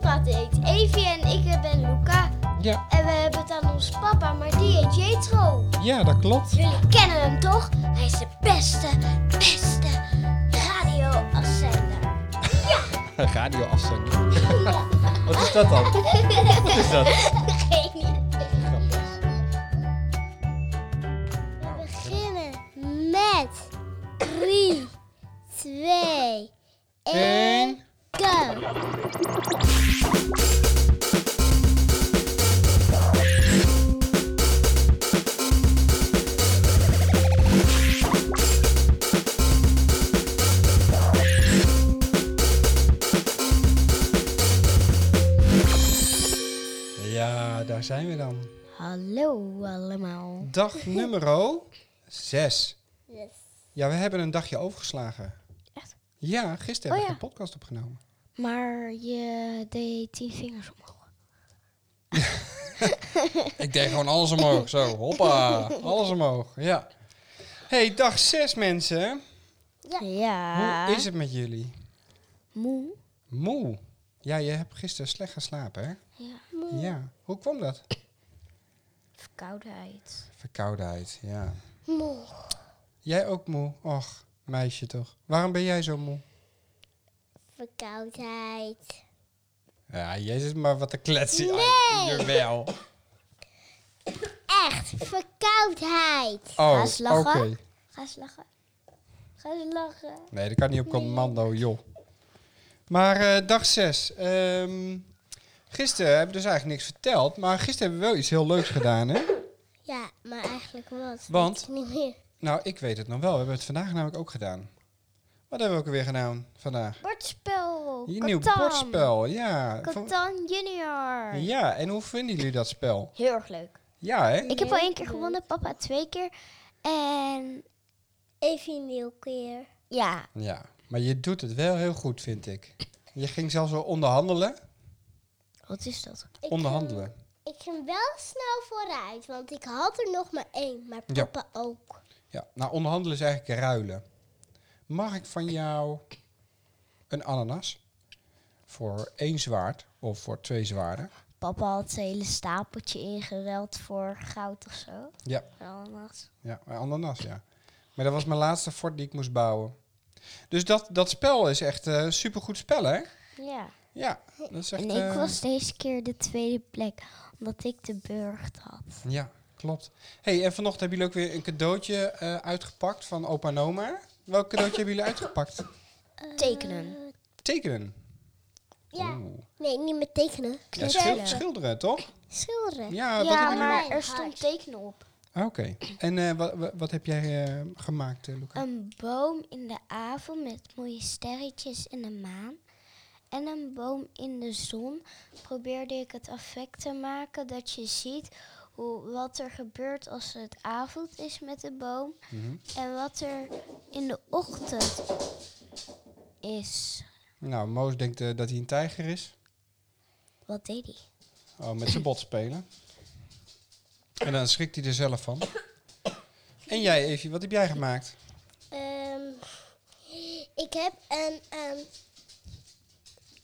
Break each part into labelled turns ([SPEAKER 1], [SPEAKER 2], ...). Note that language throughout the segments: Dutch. [SPEAKER 1] gaat eet. Evie en ik ben Luca.
[SPEAKER 2] Ja,
[SPEAKER 1] En we hebben het aan ons papa, maar die heet Jetro.
[SPEAKER 2] ja, dat klopt.
[SPEAKER 1] Jullie kennen hem toch? Hij is de beste, beste radioafzender.
[SPEAKER 2] Radioafzender. Wat is dat dan? Wat is dat?
[SPEAKER 1] Geen idee.
[SPEAKER 2] Grappig.
[SPEAKER 1] We beginnen met 3, 2, 1,
[SPEAKER 2] Eén.
[SPEAKER 1] go!
[SPEAKER 2] Ja, daar zijn we dan.
[SPEAKER 1] Hallo allemaal.
[SPEAKER 2] Dag nummer 6.
[SPEAKER 1] Yes.
[SPEAKER 2] Ja, we hebben een dagje overgeslagen.
[SPEAKER 1] Echt?
[SPEAKER 2] Ja, gisteren
[SPEAKER 1] Oh,
[SPEAKER 2] heb ik een podcast opgenomen.
[SPEAKER 1] Maar je deed 10 vingers omhoog.
[SPEAKER 2] Ik deed gewoon alles omhoog, zo. Hoppa, alles omhoog, ja. Hey, dag 6 mensen.
[SPEAKER 1] Ja.
[SPEAKER 2] Hoe is het met jullie?
[SPEAKER 1] Ah. Moe.
[SPEAKER 2] Moe. Ja, je hebt gisteren slecht geslapen, hè?
[SPEAKER 1] Ja.
[SPEAKER 2] Ja. Hoe kwam dat?
[SPEAKER 1] Verkoudheid.
[SPEAKER 2] Verkoudheid, ja.
[SPEAKER 1] Moe.
[SPEAKER 2] Jij ook moe? Och, meisje toch. Waarom ben jij zo moe?
[SPEAKER 1] Verkoudheid.
[SPEAKER 2] Ja, jezus, maar wat een kletsie.
[SPEAKER 1] Nee.
[SPEAKER 2] Jawel.
[SPEAKER 1] Echt, verkoudheid.
[SPEAKER 2] Oh,
[SPEAKER 1] Ga eens
[SPEAKER 2] oké.
[SPEAKER 1] lachen. Ga eens lachen. Ga eens lachen.
[SPEAKER 2] Nee, dat kan niet op commando, joh. Maar eh, dag 6. gisteren hebben we dus eigenlijk niks verteld. Maar gisteren hebben we wel iets heel leuks gedaan, hè?
[SPEAKER 1] Ja, maar eigenlijk wat?
[SPEAKER 2] Want?
[SPEAKER 1] Niet meer.
[SPEAKER 2] Nou, ik weet het nog wel. We hebben het vandaag namelijk ook gedaan. Wat hebben we ook weer gedaan vandaag?
[SPEAKER 1] Bordspel.
[SPEAKER 2] Je nieuw
[SPEAKER 1] Catan.
[SPEAKER 2] bordspel, ja. Van-
[SPEAKER 1] Catan Junior.
[SPEAKER 2] Ja, en hoe vinden jullie dat spel?
[SPEAKER 1] Heel erg leuk.
[SPEAKER 2] Ja, hè?
[SPEAKER 1] Ik heb al één keer gewonnen, papa twee keer. En even een heel keer. Ja.
[SPEAKER 2] Ja, maar je doet het wel heel goed, vind ik. Je ging zelfs wel onderhandelen.
[SPEAKER 3] Wat is dat?
[SPEAKER 2] onderhandelen.
[SPEAKER 1] Ik ging wel snel vooruit, want ik had er nog maar één. Maar
[SPEAKER 2] Ja.
[SPEAKER 1] papa ook.
[SPEAKER 2] Ja, nou, onderhandelen is eigenlijk ruilen. Mag ik van jou een ananas? Voor één zwaard of voor twee zwaarden?
[SPEAKER 3] Papa had zijn hele stapeltje ingereld voor goud of zo.
[SPEAKER 2] Ja,
[SPEAKER 3] Ananas.
[SPEAKER 2] ja, een ananas, ja. Maar dat was mijn laatste fort die ik moest bouwen. Dus dat, dat spel is echt een supergoed spel, hè?
[SPEAKER 3] Ja.
[SPEAKER 2] Ja, dat is echt...
[SPEAKER 3] En ik
[SPEAKER 2] eh,
[SPEAKER 3] was deze keer de tweede plek, omdat ik de burcht had.
[SPEAKER 2] Ja, klopt. hey, en vanochtend hebben jullie ook weer een cadeautje eh, uitgepakt van opa en oma. Welk cadeautje hebben jullie uitgepakt?
[SPEAKER 3] Eh, Tekenen.
[SPEAKER 2] Tekenen.
[SPEAKER 1] Ja.
[SPEAKER 2] Oeh.
[SPEAKER 1] Nee, niet met tekenen.
[SPEAKER 2] Oh. Ja, schil- schilderen, toch?
[SPEAKER 1] Schilderen.
[SPEAKER 2] Ja, dat hebben jullie-
[SPEAKER 1] maar er stond
[SPEAKER 3] tekenen op.
[SPEAKER 2] Ah, Oké. En eh, wa- wa- wat heb jij eh, gemaakt, eh, Luca?
[SPEAKER 3] Een boom in de avond met mooie sterretjes en de maan. En een boom in de zon probeerde ik het effect te maken dat je ziet hoe, wat er gebeurt als het avond is met de boom.
[SPEAKER 2] Mhm.
[SPEAKER 3] En wat er in de ochtend is.
[SPEAKER 2] Nou, Moos denkt eh, dat hij een tijger is.
[SPEAKER 3] Wat deed hij?
[SPEAKER 2] Oh, met zijn bot spelen. En dan schrikt hij er zelf van. En jij, Evie, wat heb jij gemaakt?
[SPEAKER 1] Ehm, ik heb een, ehm,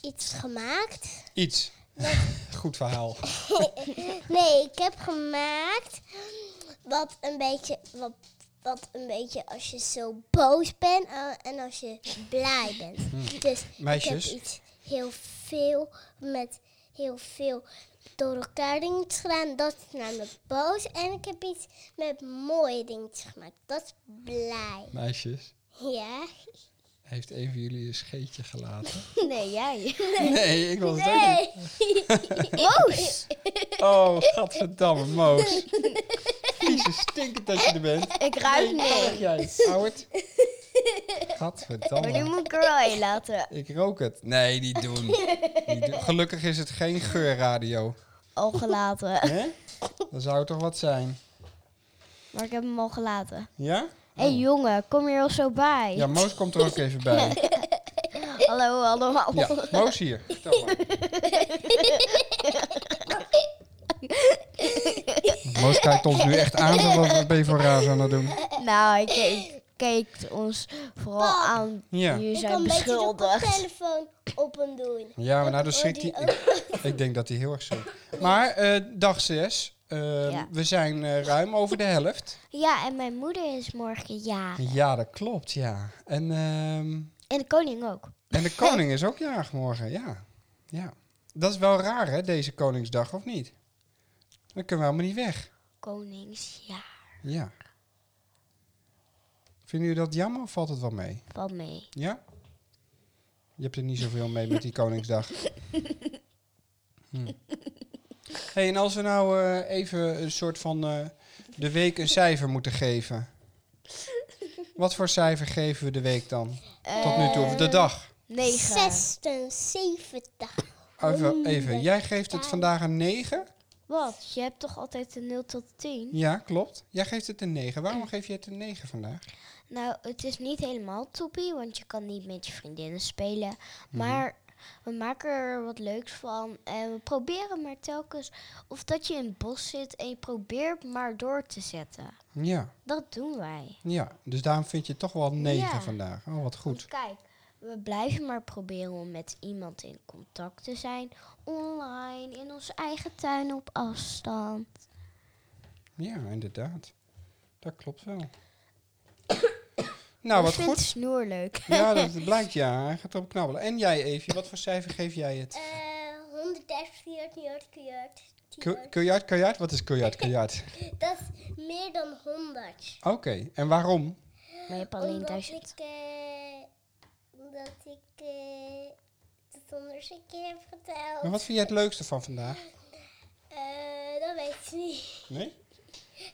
[SPEAKER 1] iets gemaakt.
[SPEAKER 2] Iets. Goed verhaal.
[SPEAKER 1] Nee, ik heb gemaakt wat een beetje, wat, wat een beetje als je zo boos bent eh, en als je blij bent. Dus ik
[SPEAKER 2] Meisjes?
[SPEAKER 1] heb iets heel veel met heel veel door elkaar dingetjes gedaan. Dat is namelijk boos. En ik heb iets met mooie dingetjes gemaakt. Dat is blij.
[SPEAKER 2] Meisjes,
[SPEAKER 1] Ja?
[SPEAKER 2] heeft een van jullie een scheetje gelaten?
[SPEAKER 3] Nee, jij.
[SPEAKER 2] Nee, ik was het ook
[SPEAKER 1] Nee!
[SPEAKER 2] niet.
[SPEAKER 3] Boos!
[SPEAKER 2] Oh, gadverdamme, Moos. Vieze stinkend dat je er bent.
[SPEAKER 3] Ik ruik
[SPEAKER 2] Zeg
[SPEAKER 3] nee.
[SPEAKER 2] jij, oud. Gadverdamme.
[SPEAKER 3] Maar nu moet ik er wel in laten.
[SPEAKER 2] Ik rook het. Nee, niet doen. Niet doen. Gelukkig is het geen geurradio.
[SPEAKER 3] Al gelaten.
[SPEAKER 2] Hè? Dan zou het toch wat zijn.
[SPEAKER 3] Maar ik heb hem al gelaten.
[SPEAKER 2] Ja?
[SPEAKER 3] Hé jongen, kom hier al zo bij.
[SPEAKER 2] Oh. Ja, Moos komt er ook even bij.
[SPEAKER 3] Hallo allemaal.
[SPEAKER 2] Ja, Moos hier. Vertel maar. Moos kijkt ons nu echt aan. Wat ben je voor raar aan het doen?
[SPEAKER 3] Nou, ik, ik, kijkt ons vooral
[SPEAKER 1] Pap.
[SPEAKER 3] aan.
[SPEAKER 2] Ja.
[SPEAKER 3] Je
[SPEAKER 1] Ik
[SPEAKER 3] zijn
[SPEAKER 1] kan een beetje de
[SPEAKER 3] beschuldigd.
[SPEAKER 1] koptelefoon op hem doen.
[SPEAKER 2] Ja, maar nou, dan
[SPEAKER 1] hoort
[SPEAKER 2] schrikt hij.
[SPEAKER 1] ook.
[SPEAKER 2] Ik, ik denk dat hij heel erg schrikt. Maar eh, dag 6.
[SPEAKER 3] Ja.
[SPEAKER 2] We zijn eh, ruim over de helft.
[SPEAKER 3] Ja, en mijn moeder is morgen jarig.
[SPEAKER 2] Ja, dat klopt, ja. En, ehm,
[SPEAKER 3] En de koning ook.
[SPEAKER 2] en de koning is ook jarig morgen, ja. ja. Dat is wel raar, hè, deze Koningsdag, of niet? Dan kunnen we helemaal niet weg.
[SPEAKER 3] Koningsjaar.
[SPEAKER 2] Ja. Vinden jullie dat jammer of valt het wel mee?
[SPEAKER 3] Wat mee.
[SPEAKER 2] Ja? Je hebt er niet zoveel mee met die Koningsdag. Hm. hey, en als we nou eh, even een soort van eh, de week een cijfer moeten geven. Wat voor cijfer geven we de week dan?
[SPEAKER 3] Eh,
[SPEAKER 2] Tot nu toe, of de dag?
[SPEAKER 3] 9.
[SPEAKER 1] 76.
[SPEAKER 2] Even, even. jij geeft het vandaag een 9?
[SPEAKER 3] Wat? Je hebt toch altijd een 0 tot 10?
[SPEAKER 2] Ja, klopt. Jij geeft het een 9. Waarom geef je het een 9 vandaag?
[SPEAKER 3] Nou, het is niet helemaal toepie, want je kan niet met je vriendinnen spelen.
[SPEAKER 2] Mhm.
[SPEAKER 3] Maar we maken er wat leuks van. En we proberen maar telkens of dat je in het bos zit en je probeert maar door te zetten.
[SPEAKER 2] Ja,
[SPEAKER 3] Dat doen wij.
[SPEAKER 2] ja. Dus daarom vind je het toch wel een 9
[SPEAKER 3] Ja.
[SPEAKER 2] vandaag. Oh, wat
[SPEAKER 3] Want
[SPEAKER 2] goed.
[SPEAKER 3] kijk, we blijven maar proberen om met iemand in contact te zijn. Online, in onze eigen tuin op afstand.
[SPEAKER 2] Ja, inderdaad. Dat klopt wel. nou,
[SPEAKER 3] ik
[SPEAKER 2] wat
[SPEAKER 3] vind
[SPEAKER 2] goed.
[SPEAKER 3] snoer leuk.
[SPEAKER 2] Ja, dat blijkt ja. Hij gaat erop knabbelen. En jij, Eefje, wat voor cijfer geef jij het?
[SPEAKER 1] Eh 130, 400, 400,
[SPEAKER 2] Ku- Kujard, kujard? Wat is kujard, kujard?
[SPEAKER 1] Dat is meer dan 100.
[SPEAKER 2] Oké, en waarom?
[SPEAKER 3] maar je hebt alleen
[SPEAKER 1] omdat
[SPEAKER 3] 1000.
[SPEAKER 1] ik, eh, omdat ik eh, het anders een keer heb geteld.
[SPEAKER 2] Maar wat vind jij het leukste van vandaag?
[SPEAKER 1] Eh, dat weet ik niet.
[SPEAKER 2] Nee?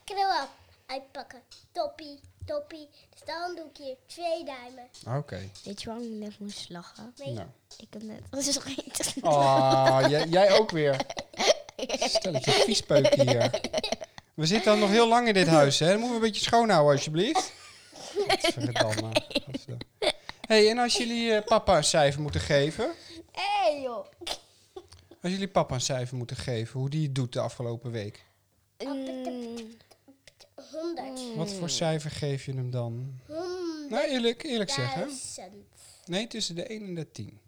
[SPEAKER 1] Krul op, uitpakken. Toppie, toppie. Dus dan doe ik hier twee duimen.
[SPEAKER 2] Oké.
[SPEAKER 3] Weet je waarom ik net moest lachen?
[SPEAKER 1] Nee.
[SPEAKER 2] Nou.
[SPEAKER 3] Ik heb net gezegd.
[SPEAKER 2] Ah, jij, jij ook weer. Stel dat je viespeuk hier. We zitten dan nog heel lang in dit huis, hè? Dan moeten we een beetje schoonhouden, alsjeblieft. Godverdamme. Godverdamme. hey, en als jullie eh, papa een cijfer moeten geven...
[SPEAKER 1] Hé joh.
[SPEAKER 2] Als jullie papa een cijfer moeten geven, hoe die het doet de afgelopen week.
[SPEAKER 3] Mm,
[SPEAKER 1] 100.
[SPEAKER 2] Wat voor cijfer geef je hem dan?
[SPEAKER 1] 100.
[SPEAKER 2] Nou, eerlijk, eerlijk zeggen.
[SPEAKER 1] Duizend.
[SPEAKER 2] Nee, tussen de 1 en de 10.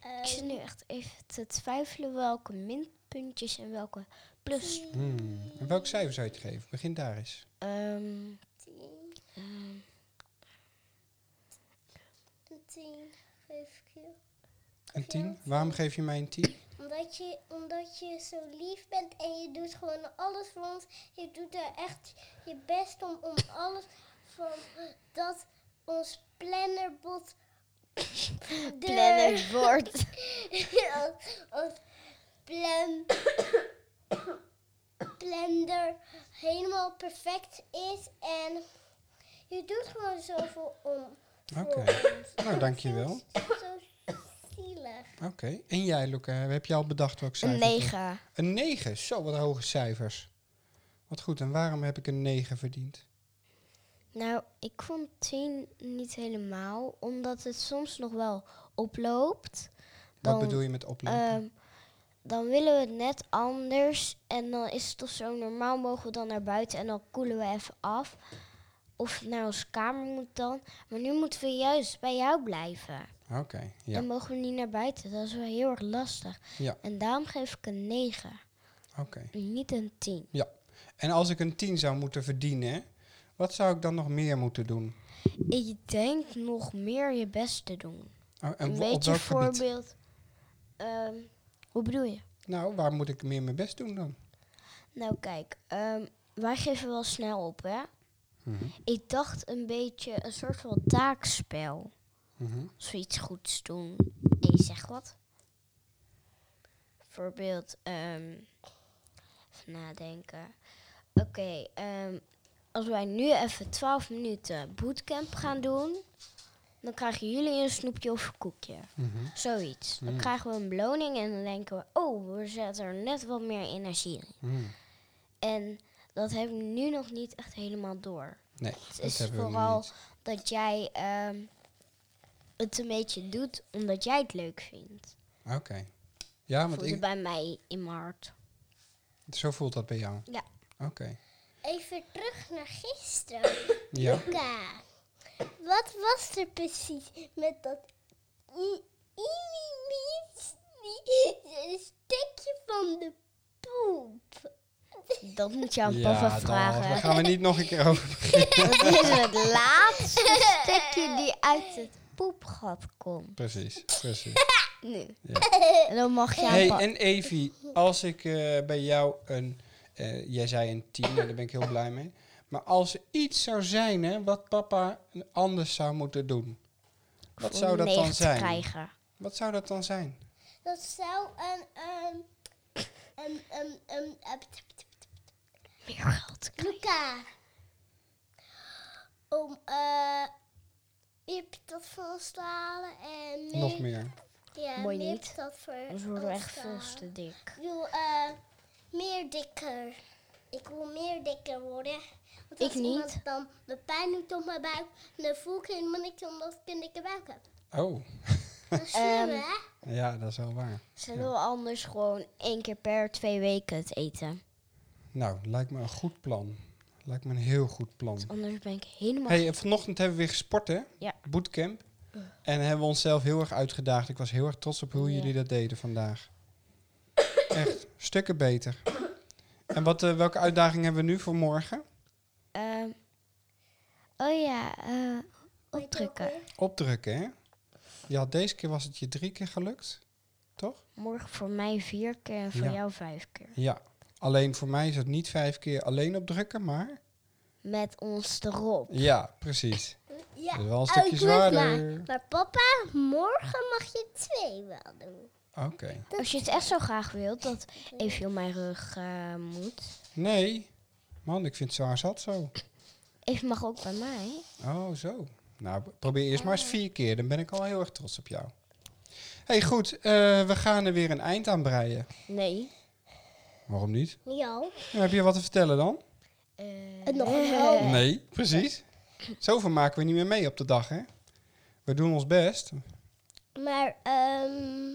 [SPEAKER 1] Eh,
[SPEAKER 3] ik zit nu echt even te twijfelen welke minpuntjes en welke plus.
[SPEAKER 2] Hmm. En welk cijfer zou je het geven? Begin daar eens.
[SPEAKER 3] Ehm,
[SPEAKER 1] tien.
[SPEAKER 3] ehm,
[SPEAKER 1] Een tien geef ik je.
[SPEAKER 2] Een 10? Waarom geef je mij een 10?
[SPEAKER 1] Omdat je, omdat je zo lief bent en je doet gewoon alles voor ons. Je doet er echt je best om, om alles van dat ons plannerbot... de-
[SPEAKER 3] plannerboard.
[SPEAKER 1] ons- ons plan, planner helemaal perfect is. En je doet gewoon zoveel om voor
[SPEAKER 2] Oké.
[SPEAKER 1] ons.
[SPEAKER 2] Nou, dankjewel.
[SPEAKER 1] Zo zielig.
[SPEAKER 2] Oké. En jij, Luca, heb je al bedacht welk
[SPEAKER 3] Een
[SPEAKER 2] cijfer? het is?
[SPEAKER 3] 9.
[SPEAKER 2] Een 9. Zo, wat hoge cijfers. Wat goed. En waarom heb ik een 9 verdiend?
[SPEAKER 3] Nou, ik vond 10 niet helemaal, omdat het soms nog wel oploopt.
[SPEAKER 2] Wat
[SPEAKER 3] Dan,
[SPEAKER 2] bedoel je met oplopen?
[SPEAKER 3] Ehm, dan willen we het net anders. En dan is het toch zo normaal mogen we dan naar buiten en dan koelen we even af. Of naar onze kamer moet dan. Maar nu moeten we juist bij jou blijven.
[SPEAKER 2] Oké. Ja.
[SPEAKER 3] En mogen we niet naar buiten. Dat is wel heel erg lastig.
[SPEAKER 2] Ja.
[SPEAKER 3] En daarom geef ik een 9.
[SPEAKER 2] Oké.
[SPEAKER 3] Niet een 10.
[SPEAKER 2] Ja. En als ik een 10 zou moeten verdienen, wat zou ik dan nog meer moeten doen?
[SPEAKER 3] Ik denk nog meer je best te doen.
[SPEAKER 2] Oh, en
[SPEAKER 3] een
[SPEAKER 2] wa- op
[SPEAKER 3] beetje
[SPEAKER 2] welk gebied?
[SPEAKER 3] voorbeeld. Ehm, hoe bedoel je?
[SPEAKER 2] Nou, waar moet ik meer mijn best doen dan?
[SPEAKER 3] Nou kijk, ehm, wij geven wel snel op hè.
[SPEAKER 2] Mhm.
[SPEAKER 3] Ik dacht een beetje een soort van taakspel.
[SPEAKER 2] Mhm.
[SPEAKER 3] Als we iets goeds doen en je zegt wat. Bijvoorbeeld, ehm, even nadenken. Oké, ehm, als wij nu even 12 minuten bootcamp gaan doen, dan krijgen jullie een snoepje of een koekje.
[SPEAKER 2] Mhm.
[SPEAKER 3] Zoiets. Dan krijgen we een beloning en dan denken we, oh, we zetten er net wat meer energie in.
[SPEAKER 2] Mm.
[SPEAKER 3] En dat heb ik nu nog niet echt helemaal door.
[SPEAKER 2] Nee,
[SPEAKER 3] Het
[SPEAKER 2] dat
[SPEAKER 3] is
[SPEAKER 2] hebben we nu
[SPEAKER 3] vooral
[SPEAKER 2] niet.
[SPEAKER 3] dat jij ehm, het een beetje doet omdat jij het leuk vindt.
[SPEAKER 2] Oké. Ja, want
[SPEAKER 3] Voelde
[SPEAKER 2] ik,
[SPEAKER 3] bij mij in mijn hart.
[SPEAKER 2] zo voelt dat bij jou.
[SPEAKER 3] Ja.
[SPEAKER 2] Oké.
[SPEAKER 1] Even terug naar gisteren.
[SPEAKER 2] Ja.
[SPEAKER 1] Luca, Wat was er precies met dat i- i- i- i- stukje van de poep?
[SPEAKER 3] Dat moet je aan
[SPEAKER 2] ja,
[SPEAKER 3] papa
[SPEAKER 2] dat-
[SPEAKER 3] vragen.
[SPEAKER 2] daar gaan we niet nog een keer over
[SPEAKER 3] Dat is het laatste stukje die uit het poepgat komt.
[SPEAKER 2] Precies, precies.
[SPEAKER 3] Nu.
[SPEAKER 2] Ja.
[SPEAKER 3] En dan mag je aan
[SPEAKER 2] hey,
[SPEAKER 3] papa...
[SPEAKER 2] en Evie, als ik eh, bij jou een... eh, jij zei een tien, en daar ben ik heel blij mee. Maar als er iets zou zijn hè, wat papa anders zou moeten doen. Wat zou dat dan zijn?
[SPEAKER 3] Krijgen.
[SPEAKER 2] Wat zou dat dan zijn?
[SPEAKER 1] Dat zou een, ehm een, een, een, een
[SPEAKER 3] Meer geld krijgen.
[SPEAKER 1] Luca. Om eh meer patat voor ons te halen en meer,
[SPEAKER 2] Nog meer.
[SPEAKER 1] Ja,
[SPEAKER 3] Mooi
[SPEAKER 1] meer
[SPEAKER 3] niet.
[SPEAKER 1] patat voor
[SPEAKER 3] Anders worden we
[SPEAKER 1] ons
[SPEAKER 3] echt
[SPEAKER 1] te
[SPEAKER 3] veel
[SPEAKER 1] halen.
[SPEAKER 3] te dik.
[SPEAKER 1] Ik wil eh, meer dikker. Ik wil meer dikker worden. Want
[SPEAKER 3] Ik
[SPEAKER 1] als iemand
[SPEAKER 3] niet.
[SPEAKER 1] dan de pijn doet op mijn buik, dan voel ik helemaal niks omdat ik een dikke buik heb.
[SPEAKER 2] Oh,
[SPEAKER 1] Dat is slim,
[SPEAKER 3] Ehm,
[SPEAKER 1] hè?
[SPEAKER 2] ja, dat is wel waar.
[SPEAKER 3] Zullen we anders gewoon één keer per twee weken het eten?
[SPEAKER 2] Nou, lijkt me een goed plan. Lijkt me een heel goed plan.
[SPEAKER 3] Anders ben ik helemaal...
[SPEAKER 2] Hey, eh, vanochtend hebben we weer gesport, hè?
[SPEAKER 3] Ja.
[SPEAKER 2] Bootcamp. En hebben we onszelf heel erg uitgedaagd. Ik was heel erg trots op hoe
[SPEAKER 3] Ja.
[SPEAKER 2] jullie dat deden vandaag. Echt, stukken beter. En wat, eh, welke uitdaging hebben we nu voor morgen?
[SPEAKER 3] Ehm, oh ja, eh,
[SPEAKER 1] Weet je ook
[SPEAKER 3] opdrukken.
[SPEAKER 1] weer?
[SPEAKER 2] Opdrukken, hè? Ja, deze keer was het je drie keer gelukt, toch?
[SPEAKER 3] Morgen voor mij vier keer en voor
[SPEAKER 2] Ja.
[SPEAKER 3] jou vijf keer.
[SPEAKER 2] Ja. Alleen voor mij is het niet vijf keer alleen opdrukken, maar...
[SPEAKER 3] Met ons erop.
[SPEAKER 2] Ja, precies.
[SPEAKER 1] Ja,
[SPEAKER 2] Dat is wel een
[SPEAKER 1] oh,
[SPEAKER 2] stukje
[SPEAKER 1] ik weet
[SPEAKER 2] zwaarder.
[SPEAKER 1] Maar, maar papa, morgen mag je twee wel doen.
[SPEAKER 2] Oké.
[SPEAKER 3] Als je het echt zo graag wilt, dat even op mijn rug eh, moet.
[SPEAKER 2] Nee. Man, ik vind het zwaar zat zo.
[SPEAKER 3] Even mag ook bij mij.
[SPEAKER 2] Oh, zo. Nou, probeer eerst maar eens vier keer. Dan ben ik al heel erg trots op jou. hey, goed. eh, we gaan er weer een eind aan breien.
[SPEAKER 3] Nee.
[SPEAKER 2] Waarom niet?
[SPEAKER 1] Ja.
[SPEAKER 2] Nou, heb je wat te vertellen dan?
[SPEAKER 3] Eh.
[SPEAKER 1] En Eh, nog een helm.
[SPEAKER 2] Nee, precies. Zoveel maken we niet meer mee op de dag, hè? We doen ons best.
[SPEAKER 1] Maar, ehm.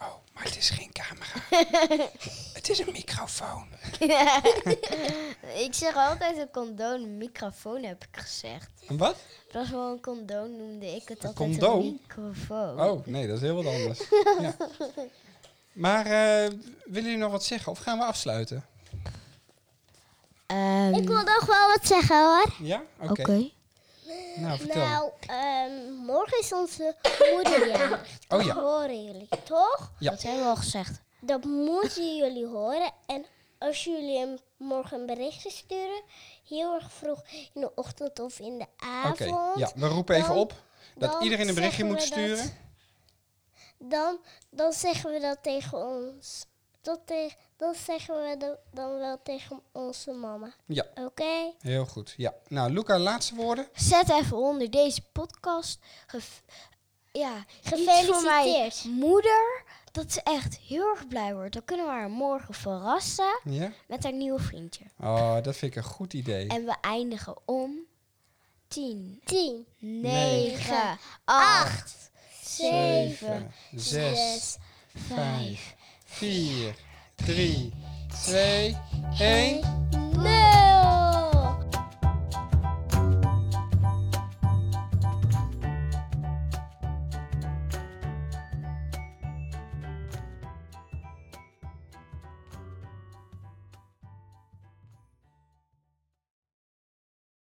[SPEAKER 2] Oh, maar het is geen camera. het is een microfoon.
[SPEAKER 3] ik zeg altijd een condoom, een microfoon heb ik gezegd.
[SPEAKER 2] Een wat?
[SPEAKER 3] Het was wel een condoom, noemde ik het
[SPEAKER 2] Een
[SPEAKER 3] altijd
[SPEAKER 2] condoom?
[SPEAKER 3] een microfoon.
[SPEAKER 2] Oh, nee, dat is heel wat anders. ja. Maar eh, willen jullie nog wat zeggen of gaan we afsluiten?
[SPEAKER 3] Ehm,
[SPEAKER 1] Ik wil nog wel wat zeggen hoor.
[SPEAKER 2] Ja? Oké.
[SPEAKER 3] Oké.
[SPEAKER 2] Nou, vertel.
[SPEAKER 1] Nou, ehm, morgen is onze moederjarig.
[SPEAKER 2] Oh
[SPEAKER 1] Dat
[SPEAKER 2] ja.
[SPEAKER 1] horen jullie toch?
[SPEAKER 2] Ja.
[SPEAKER 3] Dat hebben we al gezegd.
[SPEAKER 1] Dat moeten jullie horen. En als jullie hem morgen een berichtje sturen, heel erg vroeg in de ochtend of in de
[SPEAKER 2] Oké,
[SPEAKER 1] avond.
[SPEAKER 2] ja, we roepen even
[SPEAKER 1] Dan-
[SPEAKER 2] op dat
[SPEAKER 1] dan
[SPEAKER 2] iedereen een berichtje
[SPEAKER 1] zeggen
[SPEAKER 2] moet
[SPEAKER 1] we dat-
[SPEAKER 2] sturen.
[SPEAKER 1] Dan, dan zeggen we dat tegen ons. Dat, te, dat zeggen we dan- dan wel tegen onze mama.
[SPEAKER 2] Ja,
[SPEAKER 1] Oké?
[SPEAKER 2] heel goed. Ja. Nou, Luca, laatste woorden.
[SPEAKER 3] Zet even onder deze podcast. gef- ja, iets voor mijn
[SPEAKER 1] Gefeliciteerd.
[SPEAKER 3] moeder. Dat ze echt heel erg blij wordt. Dan kunnen we haar morgen verrassen
[SPEAKER 2] Ja?
[SPEAKER 3] met haar nieuwe vriendje.
[SPEAKER 2] Oh, dat vind ik een goed idee.
[SPEAKER 3] En we eindigen om 10,
[SPEAKER 1] Tien.
[SPEAKER 3] 9, 8, 7,
[SPEAKER 2] 6,
[SPEAKER 3] 5.
[SPEAKER 2] 4, 3, 2, 1.
[SPEAKER 1] Nul.